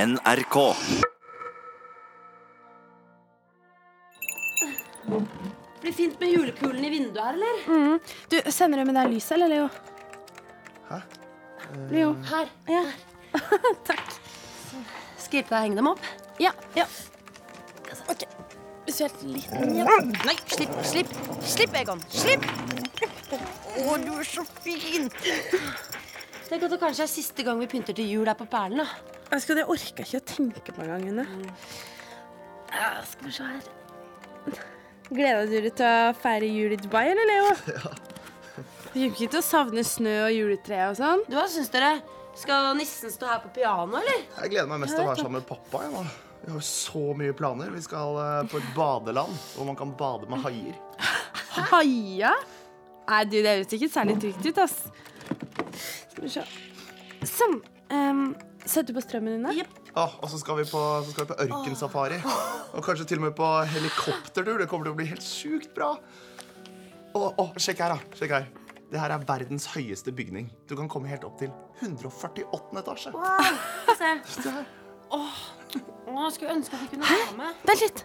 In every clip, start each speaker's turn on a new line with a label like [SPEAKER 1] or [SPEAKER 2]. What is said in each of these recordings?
[SPEAKER 1] NRK.
[SPEAKER 2] Blir fint med julekulen i vinduet her, eller?
[SPEAKER 3] Du, Sender du med deg lyset, eller, Leo? Hæ? Leo.
[SPEAKER 2] Her.
[SPEAKER 3] Ja.
[SPEAKER 2] Skal hjelpe deg å henge dem opp?
[SPEAKER 3] ja. ja. Ok. Hvis du er litt
[SPEAKER 2] Nei, slipp, slipp. Slipp, Egon. Slipp! Å, du er så fin! Tenk at det kanskje er siste gang vi pynter til jul her på Perlen. da.
[SPEAKER 3] Jeg skal, det orker jeg ikke å tenke på engang, Une. Ja, Skal vi se her Gleder du deg til å feire jul i Dubai, eller, Leo? Ja. Du kommer ikke til å savne snø og juletre og sånn?
[SPEAKER 2] Du, Hva syns dere? Skal nissen stå her på pianoet, eller?
[SPEAKER 4] Jeg gleder meg mest til å være sammen med pappa. Jeg, nå. Vi har jo så mye planer. Vi skal eh, på et badeland hvor man kan bade med haier.
[SPEAKER 3] Haia? Nei, du, det høres ikke særlig trygt ut, ass. Skal vi se. Sånn. Um, Setter du på strømmen, Une?
[SPEAKER 2] Jepp.
[SPEAKER 4] Ah, og så skal, vi på, så skal vi på ørkensafari. Og kanskje til og med på helikoptertur. Det kommer til å bli helt sjukt bra. Å, å, sjekk her, da. Sjekk her. Det her er verdens høyeste bygning. Du kan komme helt opp til 148. etasje.
[SPEAKER 2] Se.
[SPEAKER 4] Se her.
[SPEAKER 2] Å, skulle ønske at vi kunne være med.
[SPEAKER 3] Vent litt.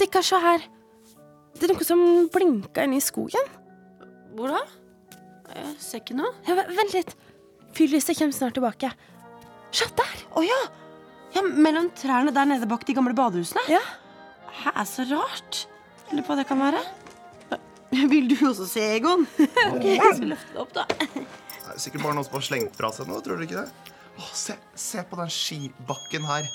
[SPEAKER 3] Dere, se her. Det er noe som blinker inne i skogen.
[SPEAKER 2] Hvor da? Jeg ser ikke noe.
[SPEAKER 3] Ja, v- vent litt. Fyrlyset kommer snart tilbake. Se der!
[SPEAKER 2] Å ja. ja! Mellom trærne der nede bak de gamle badehusene.
[SPEAKER 3] Ja.
[SPEAKER 2] Hæ, er så rart. Lurer på hva det kan være. Vil du også se Egon? Jeg skal løfte det opp, da.
[SPEAKER 4] Det er sikkert bare noen som har slengt fra seg noe. Tror dere ikke det? Å, se, se på den skibakken her.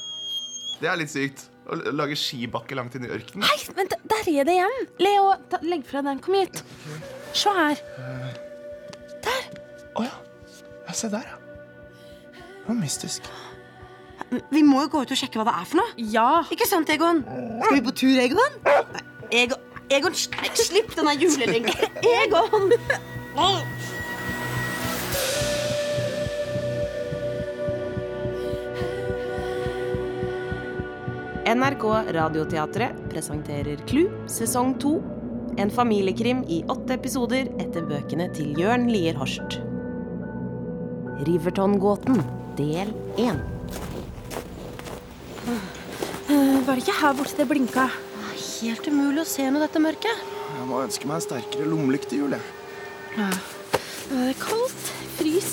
[SPEAKER 4] Det er litt sykt. Å l- lage skibakke langt inn i ørkenen.
[SPEAKER 3] Nei, vent, der er det igjen. Leo, ta, legg fra den. Kom hit. Se her.
[SPEAKER 4] Å ja. ja. Se der, ja. Det var mystisk.
[SPEAKER 2] Vi må jo gå ut og sjekke hva det er for noe.
[SPEAKER 3] Ja.
[SPEAKER 2] Ikke sant, Egon? Skal vi på tur, Egon? Nei, Egon, Egon sl- nei, slipp denne julelenken. Egon! Nei.
[SPEAKER 5] NRK Radioteatret presenterer Klu sesong 2. En familiekrim i åtte episoder etter bøkene til Jørn Lier Horst. Riverton-gåten, del én.
[SPEAKER 3] Var det ikke her borte det blinka?
[SPEAKER 2] Helt umulig å se noe i dette mørket.
[SPEAKER 4] Jeg må ønske meg en sterkere lommelykt i jul. jeg.
[SPEAKER 3] Nå er det kaldt. Frys.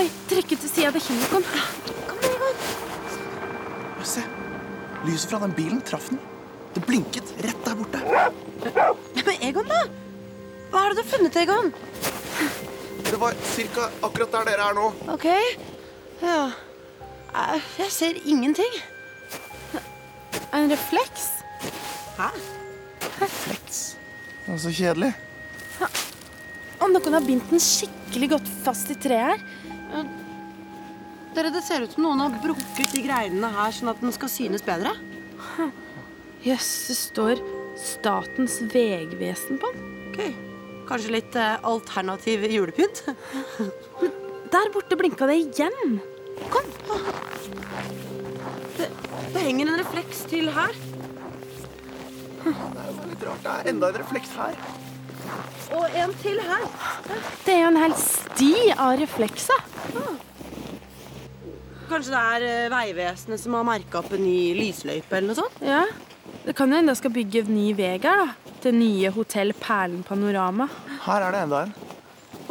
[SPEAKER 3] Oi, trekk ut til sida. Det kommer ikke noen. Kom igjen, Egon.
[SPEAKER 4] Å, Se. Lyset fra den bilen traff den. Det blinket rett der borte.
[SPEAKER 2] Men Egon, da? Hva har du funnet, Egon?
[SPEAKER 4] Det var cirka akkurat der dere er nå.
[SPEAKER 2] Ok. Ja. Eh, Jeg ser ingenting.
[SPEAKER 3] En refleks?
[SPEAKER 4] Det var så kjedelig.
[SPEAKER 3] Å, noen har bindt den skikkelig godt fast i treet her.
[SPEAKER 2] Dere, Det ser ut som noen har brukket de greinene her, sånn at den skal synes bedre.
[SPEAKER 3] Jøss, det står Statens vegvesen på den.
[SPEAKER 2] Ok, Kanskje litt eh, alternativ julepynt?
[SPEAKER 3] Der borte blinka det igjen.
[SPEAKER 2] Kom! Det, det henger en refleks til her.
[SPEAKER 4] Det var litt rart. Det er enda en refleks her.
[SPEAKER 2] Og en til her.
[SPEAKER 3] Det er jo en hel sti av reflekser.
[SPEAKER 2] Kanskje det er eh, Vegvesenet som har merka opp en ny lysløype eller noe sånt?
[SPEAKER 3] Ja. Det kan jo hende jeg skal bygge ny vei her, da. Til nye hotell Perlen Panorama.
[SPEAKER 4] Her er det enda en.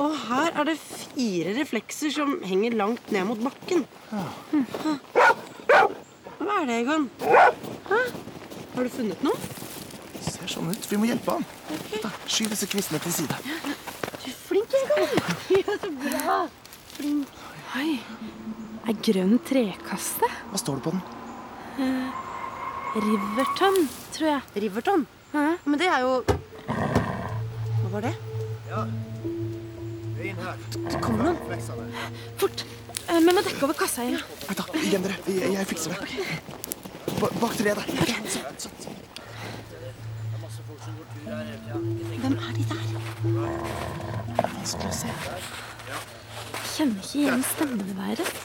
[SPEAKER 2] Og her er det fire reflekser som henger langt ned mot bakken. Hm. Hva er det, Egon? Hæ? Har du funnet noe?
[SPEAKER 4] Ser sånn ut. Vi må hjelpe han. Da, Skyv disse kvistene til side.
[SPEAKER 2] Flink, Egon! Ja, så bra!
[SPEAKER 3] Oi. Ei grønn trekaste.
[SPEAKER 4] Hva står det på den?
[SPEAKER 3] Riverton, tror jeg.
[SPEAKER 2] Riverton?
[SPEAKER 3] Hæ?
[SPEAKER 2] Men det er jo Hva var det?
[SPEAKER 3] Fort. Eh, Men må dekke over kassa igjen.
[SPEAKER 4] Vent da, Igjen, dere. Jeg, jeg fikser det. Ba- Bak treet der. Så, så, så.
[SPEAKER 2] Hvem er de der?
[SPEAKER 4] Vanskelig å se.
[SPEAKER 3] Kjenner ikke igjen stemmene deres.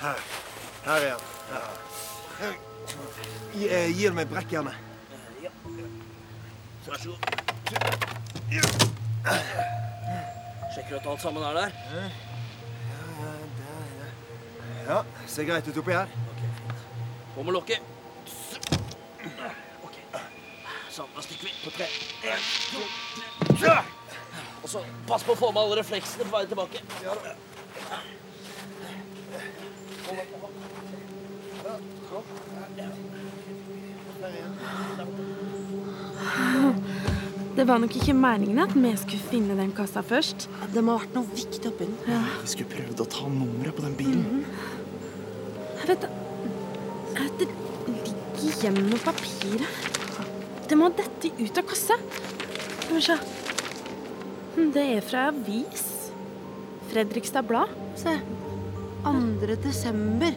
[SPEAKER 6] Her er han. Gi, eh, gi meg brekkjernet.
[SPEAKER 7] Vær så god. Sjekker du at alt sammen er der?
[SPEAKER 6] Ja, Ser greit ut oppi her.
[SPEAKER 1] På med lokket. Ok. Sånn, da stikker vi på tre. En, to, tre. Kjør! Og så pass på å få med alle refleksene på vei tilbake.
[SPEAKER 3] Det var nok ikke meningen at vi skulle finne den kassa først.
[SPEAKER 2] Det må ha vært noe viktig oppi den.
[SPEAKER 4] Vi skulle prøvd å ta nummeret på den bilen.
[SPEAKER 3] Jeg vet da at Det ligger igjen noe papir her. Det må dette ut av kassa. Skal vi se. Hm, Det er fra avis. Fredrikstad Blad.
[SPEAKER 2] Se. 2. desember.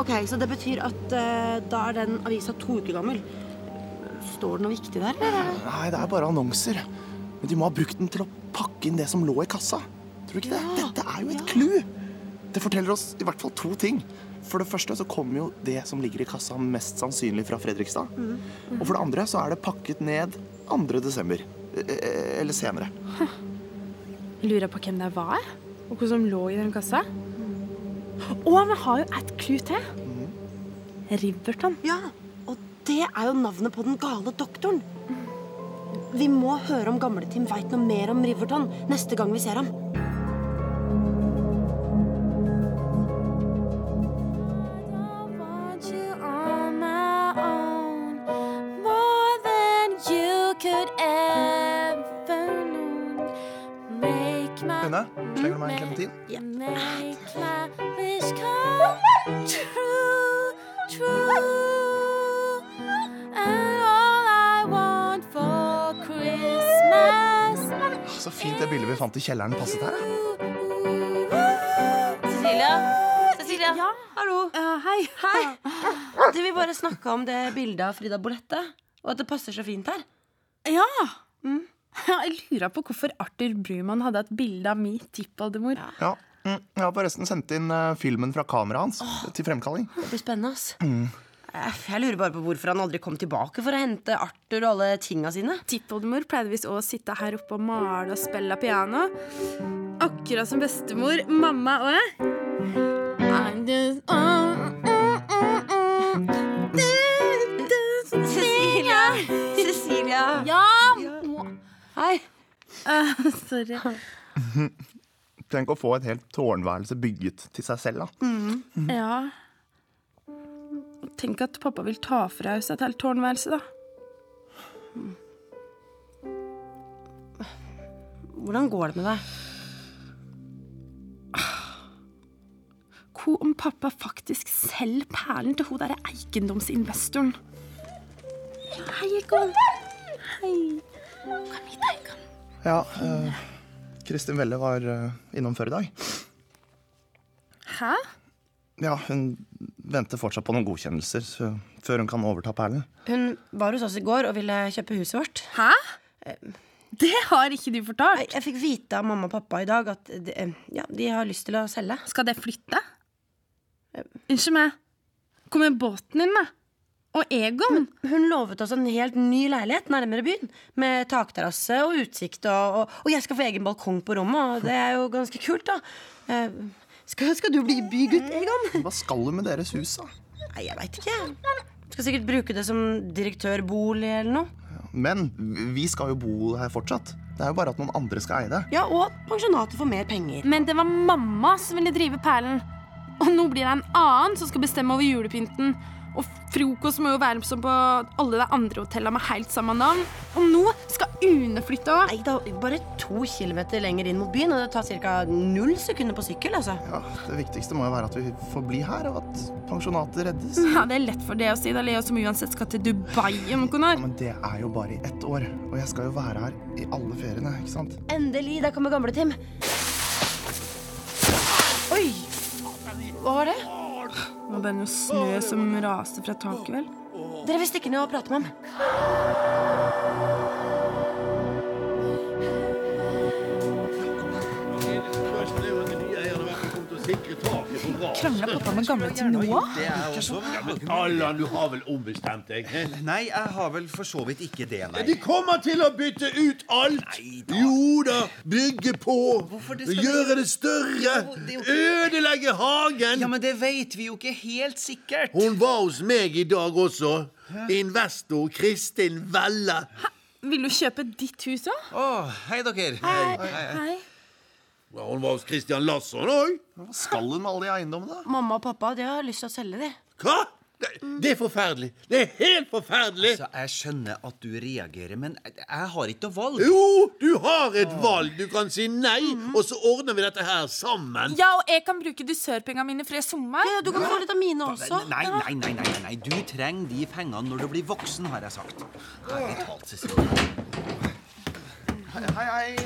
[SPEAKER 2] Ok, så det betyr at eh, da er den avisa to uker gammel. Står det noe viktig der? eller?
[SPEAKER 4] Nei, det er bare annonser. Men de må ha brukt den til å pakke inn det som lå i kassa. Tror du ikke det? Dette er jo et clou! Det forteller oss i hvert fall to ting. For det første så kommer jo det som ligger i kassa mest sannsynlig fra Fredrikstad. Og for det andre så er det pakket ned 2. desember. Eh, eh, Eller senere.
[SPEAKER 3] Lurer på hvem det var, og hva som lå i den kassa. Og vi har jo et clou til. Riverton.
[SPEAKER 2] Ja, og det er jo navnet på den gale doktoren. Vi må høre om gamle Tim veit noe mer om Riverton neste gang vi ser ham.
[SPEAKER 4] Rune, slenger du meg en klementin? Så fint det bildet vi fant i kjelleren passet her. da.
[SPEAKER 7] Cecilia? Cecilia?
[SPEAKER 2] Hallo.
[SPEAKER 3] Ja, hei.
[SPEAKER 2] Du vil bare snakke om det bildet av Frida Bolette. Og at det passer så fint her.
[SPEAKER 3] Ja. Ja, Jeg lurer på hvorfor Arthur Brumann hadde et bilde av min tippoldemor.
[SPEAKER 4] Ja. Mm, Jeg har forresten sendt inn eh, filmen fra kameraet hans til fremkalling.
[SPEAKER 2] Det blir spennende, ass. Eh, Jeg lurer bare på hvorfor han aldri kom tilbake for å hente Arthur og alle tinga sine.
[SPEAKER 3] Tippoldemor pleide visst også å sitte her oppe og male og spille piano. Akkurat som bestemor, mamma og jeg. I'm just, mm, mm, mm, mm. Du, du,
[SPEAKER 2] Cecilia! Cecilia!
[SPEAKER 3] Ja!
[SPEAKER 2] Hei.
[SPEAKER 3] Eh, sorry.
[SPEAKER 4] Tenk å få et helt tårnværelse bygget til seg selv. da.
[SPEAKER 3] Ja. Tenk at pappa vil ta fra oss et helt tårnværelse, da.
[SPEAKER 2] Hvordan går det med deg?
[SPEAKER 3] Hva om pappa faktisk selger perlen til hun derre eiendomsinvestoren? Hei, Egon. Hei. Kom hit, Egon.
[SPEAKER 4] Ja, eh, Kristin Welle var eh, innom før i dag.
[SPEAKER 3] Hæ?
[SPEAKER 4] Ja, hun venter fortsatt på noen godkjennelser så- før hun kan overta perlen.
[SPEAKER 2] Hun var hos oss i går og ville kjøpe huset vårt.
[SPEAKER 3] Hæ? Det har ikke du fortalt.
[SPEAKER 2] Jeg fikk vite av mamma og pappa i dag at de, eh, ja, de har lyst til å selge.
[SPEAKER 3] Skal det flytte? Unnskyld meg. Hvor med båten din, da? Og Egon?
[SPEAKER 2] Hun lovet oss en helt ny leilighet nærmere byen. Med takterrasse og utsikt. Og, og, og jeg skal få egen balkong på rommet, og det er jo ganske kult, da. Eh, Skal, skal du bli bygutt, Egon?
[SPEAKER 4] Hva skal hun med deres hus, da?
[SPEAKER 2] Nei, jeg veit ikke. Skal sikkert bruke det som direktørbolig eller noe.
[SPEAKER 4] Men vi skal jo bo her fortsatt. Det er jo bare at noen andre skal eie det.
[SPEAKER 2] Ja, Og at pensjonatet får mer penger.
[SPEAKER 3] Men det var mamma som ville drive perlen. Og nå blir det en annen som skal bestemme over julepynten. Og frokost må jo være som på alle de andre hotellene med helt samme navn. Og nå skal Une flytte òg.
[SPEAKER 2] Nei, da, Bare to kilometer lenger inn mot byen, og det tar ca. null sekunder på sykkel. altså.
[SPEAKER 4] Ja, Det viktigste må jo være at vi får bli her, og at pensjonatet reddes.
[SPEAKER 3] Ja, det er lett for det å si. Det er Leo som uansett skal til Dubai om noen
[SPEAKER 4] Ja,
[SPEAKER 3] år.
[SPEAKER 4] men det er jo bare i ett år, og jeg skal jo være her i alle feriene. ikke sant?
[SPEAKER 2] Endelig, der kommer gamle Tim. Oi! Hva var det?
[SPEAKER 3] Nå er det noe snø som raser fra taket, vel.
[SPEAKER 2] Dere vil stikke ned og prate med ham.
[SPEAKER 8] Det er jo en ny eier, det har vært kommet og sikret taket Krangla pappa med gamle til Noah?
[SPEAKER 9] Allan, du har vel ombestemt deg? eh? hæ?
[SPEAKER 10] Nei, jeg har vel for så vidt ikke det, nei.
[SPEAKER 9] De kommer til å bytte ut alt! Jo da, bygge på,
[SPEAKER 10] det skal
[SPEAKER 9] gjøre det større,
[SPEAKER 10] Det er jo-
[SPEAKER 9] ødelegge hagen.
[SPEAKER 10] Ja, men det veit vi jo ikke helt sikkert.
[SPEAKER 9] Hun var hos meg i dag også. Investor Kristin Velle.
[SPEAKER 3] Vil du kjøpe ditt hus òg?
[SPEAKER 10] Å, hei, dere.
[SPEAKER 3] Hei.
[SPEAKER 9] Ja, Hun var hos Christian Lasson òg.
[SPEAKER 4] Hva skal hun med alle de eiendommene? da?
[SPEAKER 2] Mamma og pappa de har lyst til å selge de.
[SPEAKER 9] Hva? Det, det er forferdelig. Det er helt forferdelig.
[SPEAKER 6] Altså-
[SPEAKER 10] Så Altså, jeg skjønner at du reagerer, men jeg- jeg har ikke noe valg.
[SPEAKER 9] Jo, du har et valg. Du kan si nei,
[SPEAKER 6] Mhm.
[SPEAKER 9] og så ordner vi dette her sammen.
[SPEAKER 3] Ja, og jeg kan bruke dusørpengene mine før sommer.
[SPEAKER 2] Ja, du kan få litt av mine også.
[SPEAKER 10] Nei, nei, nei, nei, nei, nei. Du trenger de pengene når du blir voksen, har jeg sagt. Ærlig talt, Cecilie.
[SPEAKER 4] Hei, hei.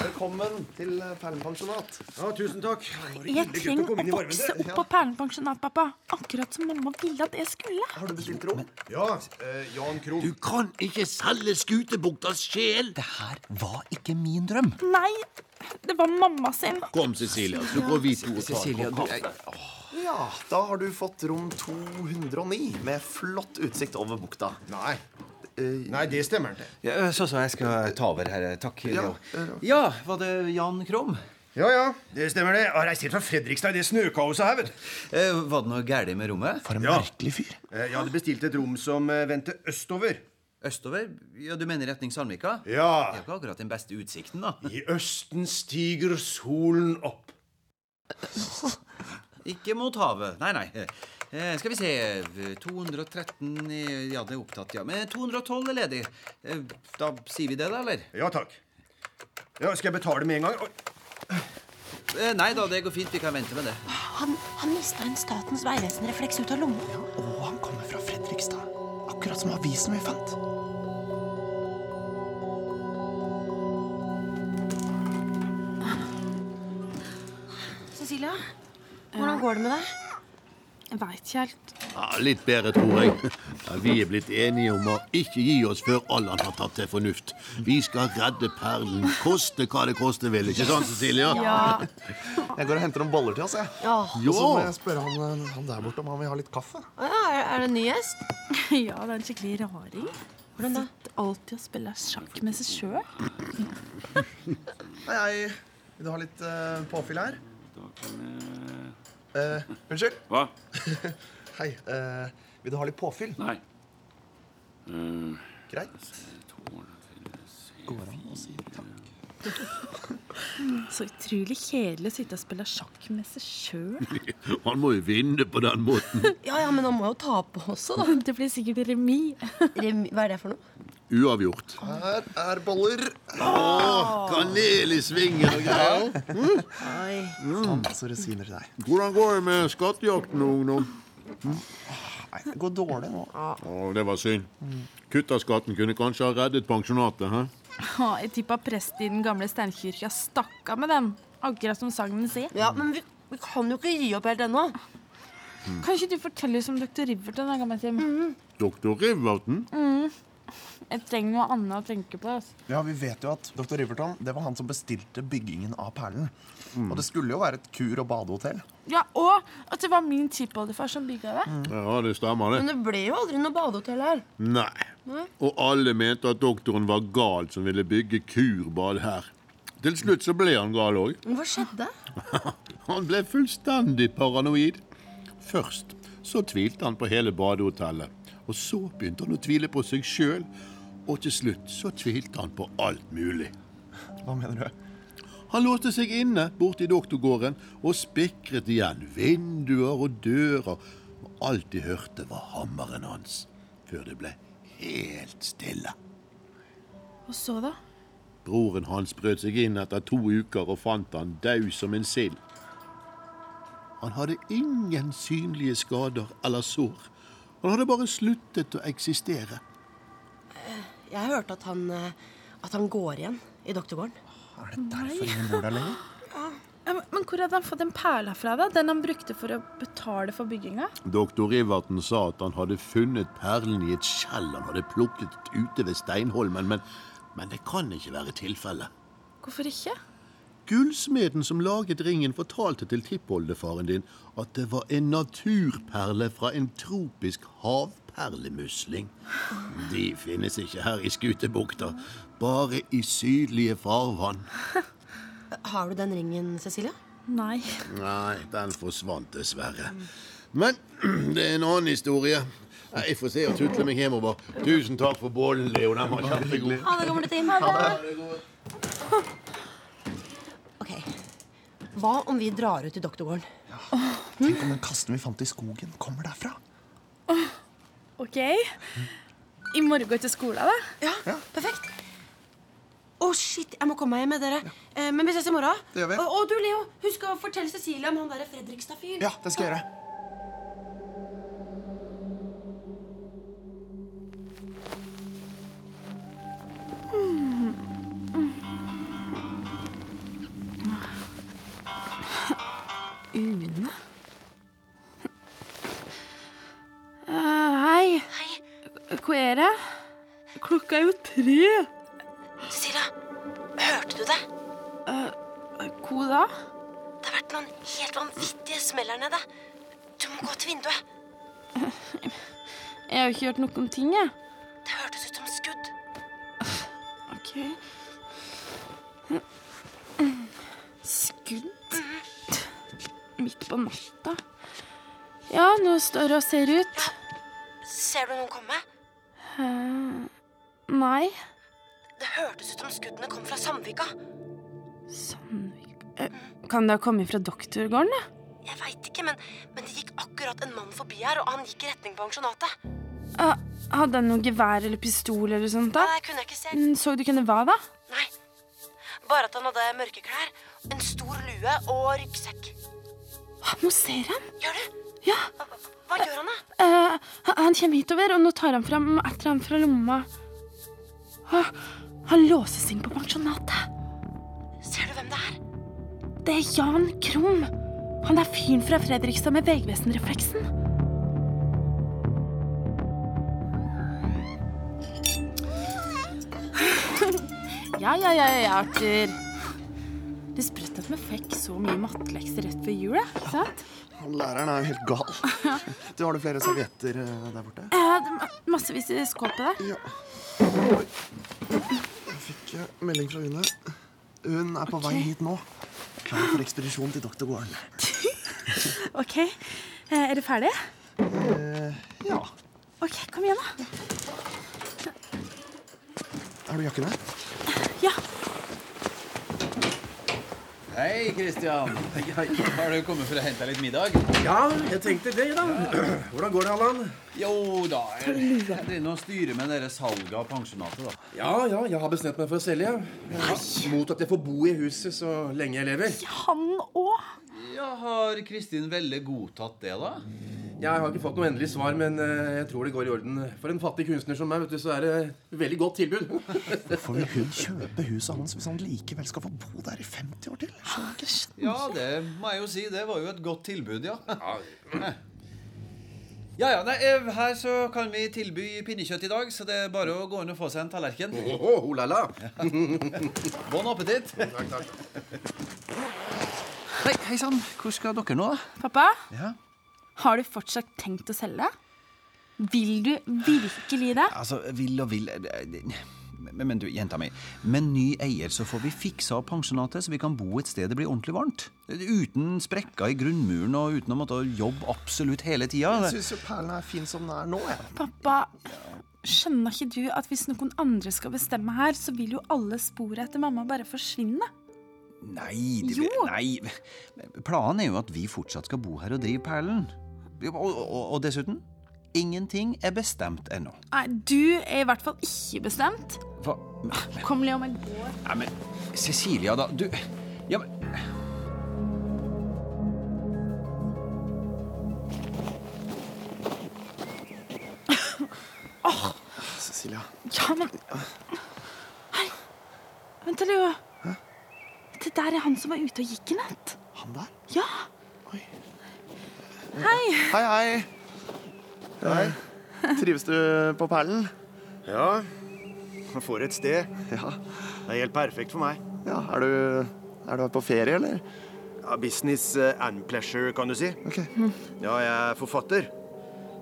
[SPEAKER 4] Velkommen til eh, Perlenpensjonat.
[SPEAKER 6] Ja, tusen takk.
[SPEAKER 3] Jeg trenger å vokse opp på perlenpensjonat, pappa. Akkurat som mamma ville at jeg skulle.
[SPEAKER 4] Har du bestilt rom?
[SPEAKER 6] Ja, eh, Jan Krogh.
[SPEAKER 9] Du kan ikke selge Skutebuktas sjel.
[SPEAKER 10] Det her var ikke min drøm.
[SPEAKER 3] Nei, det var mamma sin.
[SPEAKER 9] Kom, Cecilia, så går vi to og tar
[SPEAKER 10] Cecilie, du, jeg,
[SPEAKER 4] Ja, da har du fått rom 209 med flott utsikt over bukta.
[SPEAKER 6] Nei. Nei, det stemmer ikke.
[SPEAKER 10] ja, eh, så, så jeg skal ta over her. eh, Takk. Leo.
[SPEAKER 9] eh,
[SPEAKER 10] ja, var det Jan Krom?
[SPEAKER 6] Ja, ja, det stemmer det. Jeg har reist helt fra Fredrikstad i det snøkaoset her, vet du.
[SPEAKER 10] Eh, Var det noe galt med rommet?
[SPEAKER 4] For en
[SPEAKER 6] Ja.
[SPEAKER 4] merkelig fyr.
[SPEAKER 6] Eh, Jeg hadde bestilt et rom som eh, vendte østover.
[SPEAKER 10] Østover? Ja, Du mener retning Sandvika? Det er
[SPEAKER 6] Ja.
[SPEAKER 10] jo ikke akkurat den beste utsikten, da.
[SPEAKER 6] I østen stiger solen opp.
[SPEAKER 10] Ikke mot havet. Nei, nei. Eh, skal vi se 213 i- eh, Ja, det er opptatt, ja. Men 212 er ledig. Eh, Da sier vi det, da, eller?
[SPEAKER 6] Ja, takk. Ja, Skal jeg betale med en gang? Oi,
[SPEAKER 10] Eh, nei da, det går fint. Vi kan vente med det.
[SPEAKER 2] Han, han mista en Statens vegvesen-refleks ut av lomma.
[SPEAKER 4] Og han kommer fra Fredrikstad. Akkurat som avisen vi fant.
[SPEAKER 7] Cecilia?
[SPEAKER 2] Hvordan går det med deg?
[SPEAKER 3] Jeg veit ikke helt.
[SPEAKER 9] Ja, litt bedre, tror jeg. Ja, vi er blitt enige om å ikke gi oss før Allan har tatt til fornuft. Vi skal redde perlen, koste hva det koste vil. Ikke sant, Cecilia?
[SPEAKER 4] Jeg går og henter noen boller til oss, jeg. Og så må jeg spørre han, eh, han der borte om han vil ha litt kaffe.
[SPEAKER 2] Å ja, er, er det en ny gjest?
[SPEAKER 3] Ja, det er en skikkelig raring. Hvordan da? Sitter alltid og spiller sjakk med seg sjøl.
[SPEAKER 4] Hei, hei. Vil du ha litt eh, påfyll her? Eh, unnskyld?
[SPEAKER 11] Hva?
[SPEAKER 4] Hei. eh, vil du ha litt påfyll? Eh,
[SPEAKER 11] Nei.
[SPEAKER 4] Greit.
[SPEAKER 3] Så utrolig kjedelig å sitte og spille sjakk med seg sjøl.
[SPEAKER 9] Han må jo vinne på den måten.
[SPEAKER 2] Ja, ja, men han må jo tape også, da.
[SPEAKER 3] Det blir sikkert remis.
[SPEAKER 2] Rem- Hva er det for noe?
[SPEAKER 9] Uavgjort.
[SPEAKER 4] Her er boller.
[SPEAKER 9] Kanel i svingen og greier.
[SPEAKER 4] Så rosiner Altså, til deg.
[SPEAKER 9] Hvordan går det med skattejakten, ungdom?
[SPEAKER 4] Nei, det går dårlig nå.
[SPEAKER 9] Å, det var synd. Kutt av skatten kunne kanskje ha reddet pensjonatet. hæ?
[SPEAKER 3] Ja, jeg tippa presten i den gamle steinkirka stakk av med den. Akkurat som sagnen sier.
[SPEAKER 2] Ja, men vi, vi kan jo ikke gi opp helt ennå.
[SPEAKER 3] Kan ikke du fortelle oss om dr. Riverton? da, gamle Tim?
[SPEAKER 9] Doktor Riverton?
[SPEAKER 3] Jeg trenger noe annet å tenke på. Altså.
[SPEAKER 4] Ja, Vi vet jo at dr. Riverton det var han som bestilte byggingen av Perlen.
[SPEAKER 11] Mm.
[SPEAKER 4] Og det skulle jo være et kur- og badehotell.
[SPEAKER 3] Ja, Og at det var min tippoldefar som bygga det.
[SPEAKER 9] Ja, det stemmer, det.
[SPEAKER 2] Mm. Men det ble jo aldri noe badehotell her.
[SPEAKER 9] Nei. Og alle mente at doktoren var gal som ville bygge kurbad her. Til slutt så ble han gal òg.
[SPEAKER 2] Men hva skjedde?
[SPEAKER 9] Han ble fullstendig paranoid. Først så tvilte han på hele badehotellet. Og så begynte han å tvile på seg sjøl. Og til slutt så tvilte han på alt mulig.
[SPEAKER 4] Hva mener du?
[SPEAKER 9] Han låste seg inne borte i doktorgården og spikret igjen vinduer og dører. Og alt de hørte, var hammeren hans. Før det ble helt stille.
[SPEAKER 3] Og så, da?
[SPEAKER 9] Broren hans brøt seg inn etter to uker og fant han død som en sild. Han hadde ingen synlige skader eller sår. Han hadde bare sluttet å eksistere.
[SPEAKER 2] Jeg hørte at han, eh, at han går igjen i doktorgården.
[SPEAKER 4] Er det derfor ingen bor der lenger?
[SPEAKER 3] Ja, Men men hvor hadde han fått den perla fra? da? Den han brukte for å betale for bygginga?
[SPEAKER 9] Doktor Riverton sa at han hadde funnet perlen i et skjell han hadde plukket ute ved Steinholmen, men, men det kan ikke være tilfellet.
[SPEAKER 3] Hvorfor ikke?
[SPEAKER 9] Gullsmeden som laget ringen, fortalte til tippoldefaren din at det var en naturperle fra en tropisk havperlemusling. De finnes ikke her i Skutebukta, bare i sydlige farvann.
[SPEAKER 2] Har du den ringen, Cecilia?
[SPEAKER 3] Nei.
[SPEAKER 9] Nei, den forsvant dessverre. Men det er en annen historie. Nei, Jeg får se og tutle meg hjemover. Tusen takk for bollen, Leo. Den var kjempegod.
[SPEAKER 2] Ha det, gamle Tim. Ok. Hva om vi drar ut til doktorgården?
[SPEAKER 4] Tenk om den kasten vi fant i skogen, kommer derfra.
[SPEAKER 12] OK. I morgen til skolen, da?
[SPEAKER 2] Ja, perfekt. Å, shit, jeg må komme meg hjem med dere. Eh, men vi ses i morgen.
[SPEAKER 4] Det gjør vi.
[SPEAKER 2] Og, og du, Leo, husk å fortelle Cecilie om han derre Fredrikstad-fyren.
[SPEAKER 4] Ja, det skal jeg gjøre.
[SPEAKER 3] Une? Eh, hei. Hvor er det? Klokka er jo tre.
[SPEAKER 2] Cecilia, hørte du det?
[SPEAKER 3] Eh, hvor da?
[SPEAKER 2] Det har vært noen helt vanvittige smell her nede. Du må gå til vinduet.
[SPEAKER 3] Jeg har jo ikke hørt noe om ting, jeg.
[SPEAKER 2] Det hørtes ut som skudd.
[SPEAKER 3] Ok. Skudd? Midt på natta? Ja, nå står det og ser ut.
[SPEAKER 2] Ser du noen komme?
[SPEAKER 3] Eh, nei.
[SPEAKER 2] Det hørtes ut som skuddene kom fra Sandvika.
[SPEAKER 3] Sandvik eh, Kan det ha kommet fra doktorgården, da?
[SPEAKER 2] Jeg veit ikke, men, men det gikk akkurat en mann forbi her, og han gikk i retning pensjonatet.
[SPEAKER 3] Ah, hadde han noe gevær eller pistol eller sånt da?
[SPEAKER 2] Nei, det kunne jeg ikke se.
[SPEAKER 3] Mm, Så du kunne hva da?
[SPEAKER 2] Nei. Bare at han hadde mørke klær, en stor lue og ryggsekk.
[SPEAKER 3] Ah, Nå ser han!
[SPEAKER 2] Gjør du?
[SPEAKER 3] Ja,
[SPEAKER 2] Hva gjør han, da?
[SPEAKER 3] eh, han- han kommer hitover, og nå tar han fram etter han fra lomma. Ah, han låses inn på pensjonatet.
[SPEAKER 2] Ser du hvem det er?
[SPEAKER 3] Det er Jan Krum. Han er fyren fra Fredrikstad med Vegvesenrefleksen. Ja, ja, ja, ja, Arthur. Det er sprøtt at vi fikk så mye mattelekser rett før jul. ikke sant?
[SPEAKER 4] Han Læreren er jo helt gal. Du Har du flere servietter eh, der borte?
[SPEAKER 3] Jeg hadde ma- massevis i skåpet der.
[SPEAKER 4] Ja. Jeg fikk eh, melding fra Une. Hun er på vei hit nå. Klar for ekspedisjon til doktorgården.
[SPEAKER 3] Ok, eh, Er du ferdig?
[SPEAKER 4] Eh, ja.
[SPEAKER 3] Ok, Kom igjen, da.
[SPEAKER 4] Har du jakkene?
[SPEAKER 3] Ja.
[SPEAKER 10] Hei, Kristian. Har du kommet for å hente deg litt middag?
[SPEAKER 6] Ja, jeg tenkte det, da. Hvordan går det, Allan?
[SPEAKER 10] Jo da. Jeg driver nå og styrer med dere salget av pensjonatet, da.
[SPEAKER 6] Ja, ja, jeg har bestemt meg for å selge. Mot at jeg får bo i huset så lenge jeg lever.
[SPEAKER 3] Han òg.
[SPEAKER 10] Ja, Har Kristin Velle godtatt det, da?
[SPEAKER 6] Jeg har ikke fått noe endelig svar, men eh, jeg tror det går i orden. For en fattig kunstner som meg, vet du, så er det et veldig godt tilbud.
[SPEAKER 4] Hvorfor vil hun kjøpe huset hans hvis han likevel skal få bo der i 50 år til?
[SPEAKER 10] Ja, det må jeg jo si. Det var jo et godt tilbud, ja. Ja, ja, nei, eh, Her så kan vi tilby pinnekjøtt i dag, så det er bare å gå inn og få seg en tallerken.
[SPEAKER 6] Åh, oh la la.
[SPEAKER 10] Bon appétit.
[SPEAKER 6] Takk, takk.
[SPEAKER 10] Hei, hei sann. Hvor skal dere nå, da?
[SPEAKER 3] Pappa,
[SPEAKER 10] Ja.
[SPEAKER 3] har du fortsatt tenkt å selge? Vil du virkelig det?
[SPEAKER 10] Altså, vil og vil men, men du, jenta mi. Med ny eier så får vi fiksa opp pensjonatet, så vi kan bo et sted det blir ordentlig varmt. Uten sprekker i grunnmuren og uten å måtte jobbe absolutt hele tida.
[SPEAKER 4] Jeg syns jo perlen er fin som den er nå. Jeg.
[SPEAKER 3] Pappa, skjønner ikke du at hvis noen andre skal bestemme her, så vil jo alle sporet etter mamma bare forsvinne?
[SPEAKER 10] Nei, det,
[SPEAKER 3] Jo.
[SPEAKER 10] nei. Planen er jo at vi fortsatt skal bo her og drive Perlen. Og, og, og dessuten ingenting er bestemt ennå.
[SPEAKER 3] Nei, du er i hvert fall ikke bestemt.
[SPEAKER 10] Hva
[SPEAKER 3] Kom, Leo, men går.
[SPEAKER 10] Nei, men Cecilia, da. Du Ja, men
[SPEAKER 4] Cecilia.
[SPEAKER 3] Ja, men Hei. Vent, da, Leo. Det der er han som var ute og gikk i natt.
[SPEAKER 4] Han der?
[SPEAKER 3] Ja.
[SPEAKER 4] Oi.
[SPEAKER 3] Hei.
[SPEAKER 4] Hei, hei. Hei. Trives du på perlen?
[SPEAKER 13] Ja, man får et sted.
[SPEAKER 4] Ja.
[SPEAKER 13] Det er helt perfekt for meg.
[SPEAKER 4] ja. Er du Er du her på ferie, eller?
[SPEAKER 6] Ja, business eh, and pleasure, kan du si. Ja, jeg er forfatter,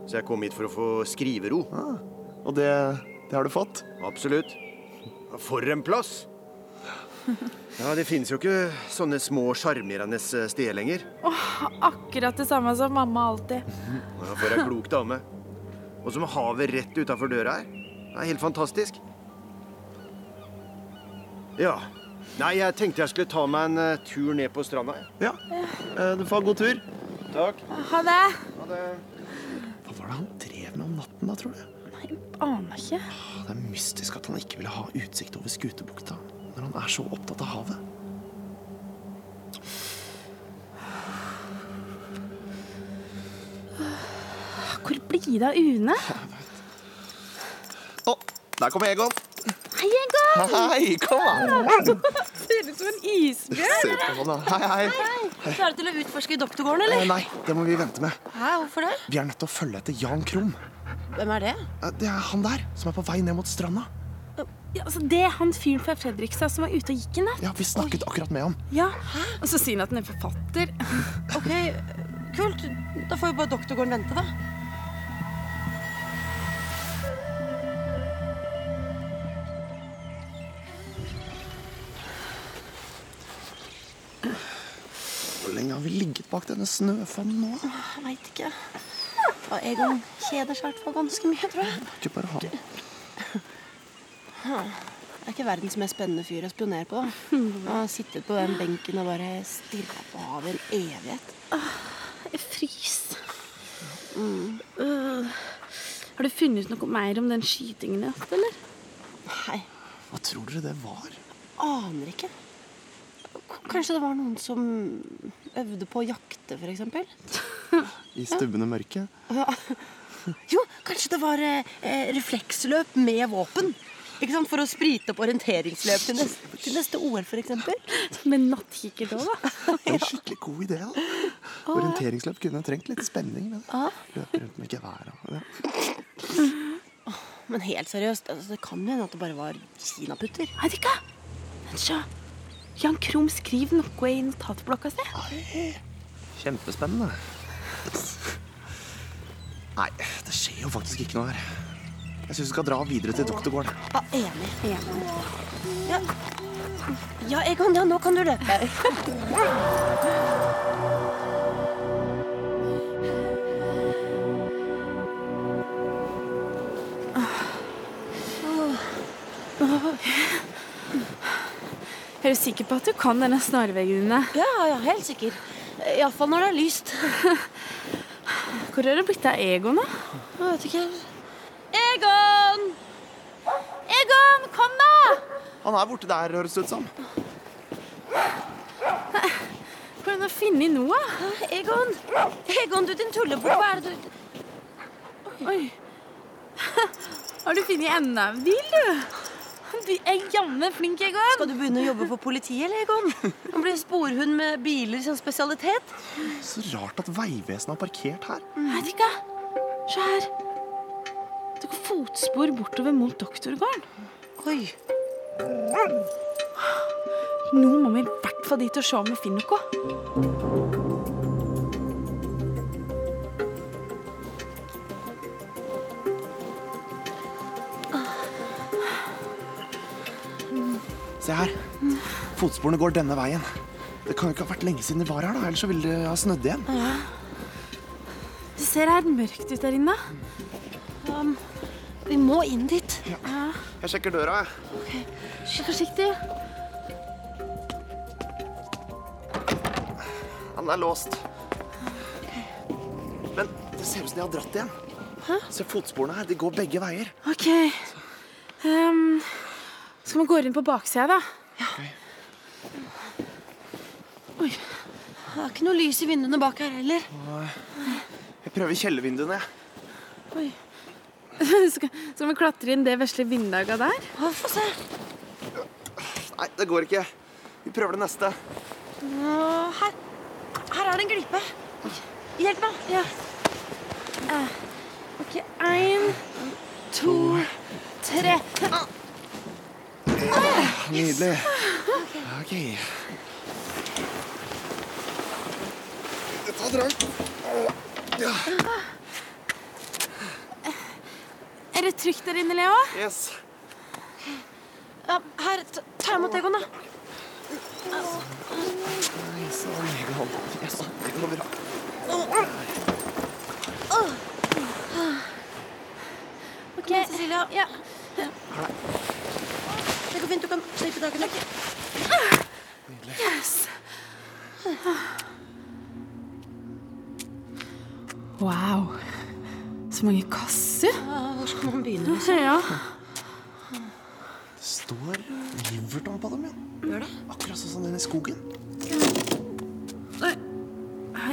[SPEAKER 6] så jeg kom hit for å få skrivero.
[SPEAKER 4] Og det, det har du fått?
[SPEAKER 6] Absolutt. For en plass! Ja, det finnes jo ikke sånne små sjarmerende steder lenger.
[SPEAKER 14] Akkurat det samme som mamma alltid.
[SPEAKER 6] Ja, For ei klok dame. Og som havet rett utafor døra her. Det er helt fantastisk. Ja. Nei, jeg tenkte jeg skulle ta meg en eh, tur ned på stranda.
[SPEAKER 4] Ja. Eh, Du får ha god tur.
[SPEAKER 6] Takk.
[SPEAKER 14] Ha det.
[SPEAKER 4] Hva var det han drev med om natten, da, tror du?
[SPEAKER 14] Aner ikke.
[SPEAKER 4] Ja, Det er mystisk at han ikke ville ha utsikt over Skutebukta når han er så opptatt av havet.
[SPEAKER 14] Hvor blir det av Une?
[SPEAKER 4] Å, der kommer Egon.
[SPEAKER 14] Hei, Egon!
[SPEAKER 4] Hei, kom an.
[SPEAKER 14] Ser ut som en isbjørn.
[SPEAKER 4] Se på han, da. Hei, hei.
[SPEAKER 15] Klarer du til å utforske doktorgården, eller?
[SPEAKER 4] Eh, Nei, det må vi vente med.
[SPEAKER 15] Hæ, hvorfor det?
[SPEAKER 4] Vi er nødt til å følge etter Jan Krum.
[SPEAKER 15] Hvem er det?
[SPEAKER 4] Eh, Det er han der, som er på vei ned mot stranda.
[SPEAKER 3] Ja, altså, det er han fyren fra Fredrikstad som var ute og gikk i natt.
[SPEAKER 4] Ja, vi snakket akkurat med ham.
[SPEAKER 3] Ja, Og så sier han at han er forfatter.
[SPEAKER 5] Ok, kult. Da får jo bare doktorgården vente, da.
[SPEAKER 4] Hvor lenge har vi ligget bak denne snøfonnen nå? da?
[SPEAKER 5] Jeg veit ikke. Og Egon kjeder seg i hvert fall ganske mye, tror jeg.
[SPEAKER 4] Ikke bare han.
[SPEAKER 5] Ja. Det er ikke verdens mest spennende fyr å spionere på. da. Han har sittet på den benken og bare stirra på havet i en evighet.
[SPEAKER 3] Jeg fryser. Øh. Har du funnet ut noe mer om den skytingen i natt, eller?
[SPEAKER 5] Nei,
[SPEAKER 4] Hva tror dere det var?
[SPEAKER 5] aner ikke. K kanskje det var noen som øvde på å jakte, f.eks.?
[SPEAKER 4] I stubbende mørke?
[SPEAKER 5] Ja. Jo, kanskje det var eh, eh, refleksløp med våpen. Ikke sant? For å sprite opp orienteringsløp til neste, til neste OL, f.eks.
[SPEAKER 3] Med nattkikker da, da.
[SPEAKER 4] Det er en skikkelig god idé. da. Orienteringsløp kunne trengt litt spenning. med det. Løpe rundt med gevær og ja.
[SPEAKER 5] Men helt seriøst, altså, det kan jo hende at det bare var kinaputter.
[SPEAKER 3] Vet ikke. Men se. Jan Krum skriver noe i notatblokka si.
[SPEAKER 4] Kjempespennende. Nei, det skjer jo faktisk ikke noe her. Jeg syns vi skal dra videre til doktorgården.
[SPEAKER 5] Ja, enig. Ja. ja, Egon, ja, nå kan du løpe.
[SPEAKER 3] Er du sikker på at du kan denne snarveien dine?
[SPEAKER 5] Ja, ja, helt sikker. Iallfall når det er lyst.
[SPEAKER 3] Hvor er det blitt av Egon, da?
[SPEAKER 5] Jeg vet ikke.
[SPEAKER 14] Egon! Egon, kom da!
[SPEAKER 4] Han er borte der, høres det ut som.
[SPEAKER 3] Hvordan har du funnet noe?
[SPEAKER 5] Egon! Egon, du din tullebukk, hva er det du
[SPEAKER 3] Oi. Har du funnet enda en bil, du? Du er jammen flink, Egon.
[SPEAKER 5] Skal du begynne å jobbe for politiet, eller, Egon? Han blir sporhund med biler som spesialitet.
[SPEAKER 4] Så rart at Vegvesenet har parkert her.
[SPEAKER 3] Vet ikke. Se her. Det går fotspor bortover mot doktorgården.
[SPEAKER 5] Oi.
[SPEAKER 3] Nå må vi i hvert fall dit og se om vi finner noe.
[SPEAKER 4] Se her. Fotsporene går denne veien. Det kan jo ikke ha vært lenge siden de var her, da, ellers så ville de ha snødd igjen.
[SPEAKER 3] Det ser her mørkt ut der inne.
[SPEAKER 5] Um, vi må inn dit.
[SPEAKER 3] Ja.
[SPEAKER 4] Jeg sjekker døra, jeg.
[SPEAKER 3] Vær forsiktig.
[SPEAKER 4] Han er låst. Men det ser ut som de har dratt igjen. Se fotsporene her. De går begge veier.
[SPEAKER 3] OK. Ehm, skal vi gå inn på baksida, da?
[SPEAKER 5] Det er ikke noe lys i vinduene bak her heller.
[SPEAKER 4] Jeg prøver kjellervinduene, jeg.
[SPEAKER 3] Oi. Skal, skal vi klatre inn det vesle vinduet der?
[SPEAKER 5] Få se.
[SPEAKER 4] Nei, det går ikke. Vi prøver det neste.
[SPEAKER 5] Nå, Her, her er det en glipe. Hjelp meg.
[SPEAKER 3] Ja. Eh, OK. Én, to, tre.
[SPEAKER 4] Nydelig. Ok. Ta drag. Ja.
[SPEAKER 16] Er det trygt der inne, Leo?
[SPEAKER 4] Yes.
[SPEAKER 17] Ja, her, ta, ta imot Egon, da.
[SPEAKER 4] Nei, sånn. Egon. Yes, det går bra.
[SPEAKER 17] Kom igjen, Cecilia. Det går fint. Du kan slippe taket nå.
[SPEAKER 3] Yes. Wow. Så mange kasser.
[SPEAKER 2] Hvor skal man begynne?
[SPEAKER 3] Ja.
[SPEAKER 4] Det står Riverton på dem, ja.
[SPEAKER 2] Gjør det?
[SPEAKER 4] Akkurat sånn som den i skogen.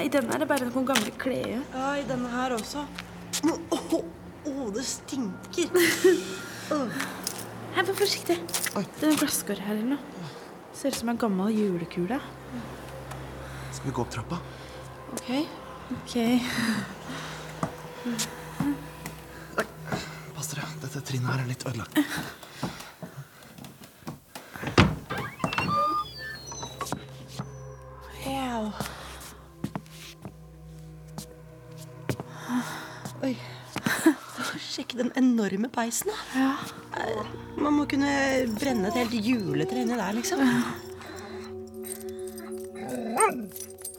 [SPEAKER 3] I denne er det bare noen gamle klær.
[SPEAKER 2] Ja, i denne her også. Å, å, å, det stinker.
[SPEAKER 3] Her, Vær forsiktig. Det er en glasskår her eller noe. Ser ut som en gammel julekule.
[SPEAKER 4] Skal vi gå opp trappa?
[SPEAKER 3] Ok. Ok.
[SPEAKER 4] Pass dere. Dette trinnet her er litt ødelagt.
[SPEAKER 3] Wow.
[SPEAKER 2] Oi. Sjekk den enorme peisen, da. Eh, Man må kunne brenne et helt juletre inni der, liksom.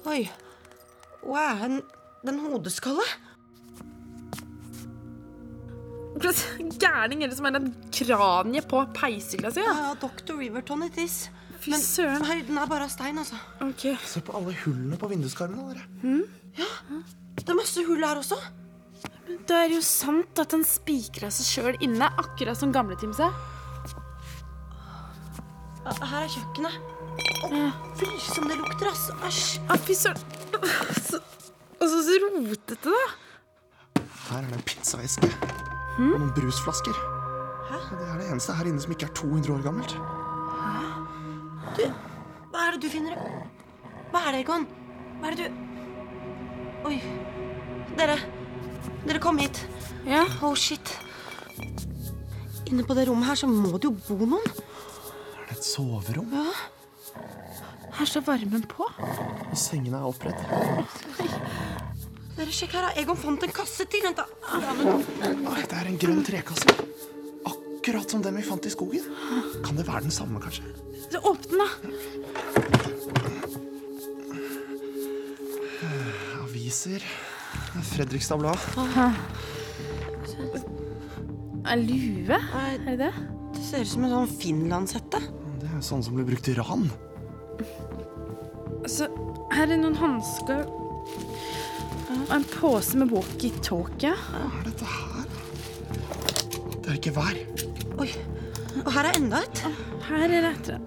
[SPEAKER 2] Oi. Wow, en, den hodeskalle.
[SPEAKER 3] Gærning er det som er en kranje på peishylla si.
[SPEAKER 2] Ja, Dr. Riverton it is.
[SPEAKER 3] Fy søren.
[SPEAKER 2] Men høyden er bare av stein, altså.
[SPEAKER 4] Se på alle hullene på vinduskarmene. dere.
[SPEAKER 2] Ja, det er masse hull her også.
[SPEAKER 3] Men det er jo sant at han spikra seg sjøl inne, akkurat som gamletimse.
[SPEAKER 2] Ja, Her er kjøkkenet. Å, Fy, som det lukter, ass. Æsj.
[SPEAKER 3] Fy søren. Og så så rotete, da.
[SPEAKER 4] Her er det en pizzaeske og noen brusflasker. Det er det eneste her inne som ikke er 200 år gammelt.
[SPEAKER 2] Hva er det du finner? Hva er det, Egon? Hva er det du Oi. Dere. Dere, kom hit.
[SPEAKER 3] Ja?
[SPEAKER 2] Oh, shit. Inne på det rommet her så må det jo bo noen.
[SPEAKER 4] Er det et soverom?
[SPEAKER 2] Ja.
[SPEAKER 3] Her står varmen på.
[SPEAKER 4] Og sengene er oppredd.
[SPEAKER 2] Dere, sjekk her. da. Egon fant en kasse til. Vent, da. Ja, men-
[SPEAKER 4] Nei, det er en grønn trekasse. Akkurat som den vi fant i skogen. Kan det være den samme, kanskje?
[SPEAKER 3] Så Åpne, da.
[SPEAKER 4] Aviser. Fredrikstad Blad.
[SPEAKER 3] En lue? Er det det?
[SPEAKER 2] Det ser ut som en sånn finlandshette.
[SPEAKER 4] Det er jo sånn som ble brukt i ran.
[SPEAKER 3] Så Altså, her er noen hansker. Og en pose med walkietalkie.
[SPEAKER 4] Hva er dette her? Det er ikke vær.
[SPEAKER 2] Oi. Og her er enda et.
[SPEAKER 3] Her er det etter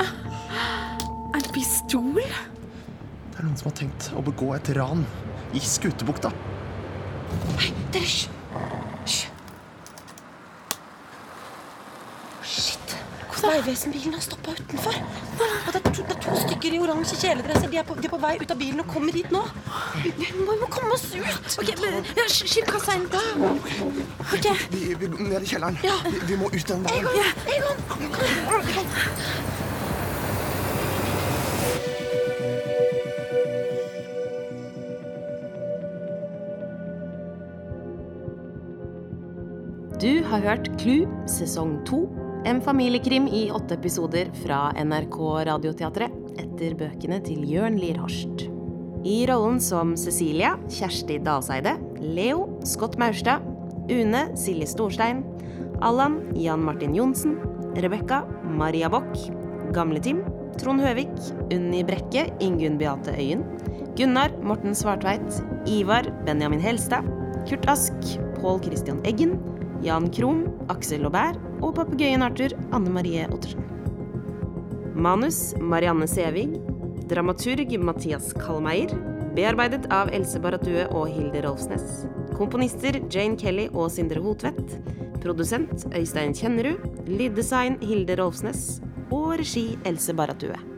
[SPEAKER 3] En Ah. pistol?
[SPEAKER 4] Det er noen som har tenkt å begå et ran i Skutebukta.
[SPEAKER 2] Hei, dere, hysj! Hysj. Shit. Vegvesenbilen har stoppa utenfor. Og det, er to, det er to stykker i oransje kjeledresser. De er, på, de er på vei ut av bilen og kommer hit nå. Vi, vi må jo komme oss ut.
[SPEAKER 3] Ok, men- ja, sk- Skill kassa inn.
[SPEAKER 4] Vi, vi går ned i kjelleren. Vi, vi må ut den veien.
[SPEAKER 2] Egon! Egon! Kom igjen.
[SPEAKER 5] Du har hørt Klu sesong to, en familiekrim i åtte episoder fra NRK Radioteatret etter bøkene til Jørn Lier Horst. I rollen som Cecilia, Kjersti Dalseide, Leo, Scott Maurstad, Une, Silje Storstein, Allan, Jan Martin Johnsen, Rebekka, Maria Bock, Gamle-Tim, Trond Høvik, Unni Brekke, Ingunn Beate Øyen, Gunnar, Morten Svartveit, Ivar, Benjamin Helstad, Kurt Ask, Pål Christian Eggen, Jan Krohm, Aksel Laubert og papegøyen Arthur Anne Marie Ottersen. Manus Marianne Sævig. Dramaturg Mathias Kalmeier. Bearbeidet av Else Baratue og Hilde Rolfsnes. Komponister Jane Kelly og Sindre Hotvedt. Produsent Øystein Kjennerud. Lyddesign Hilde Rolfsnes. Og regi Else Baratue.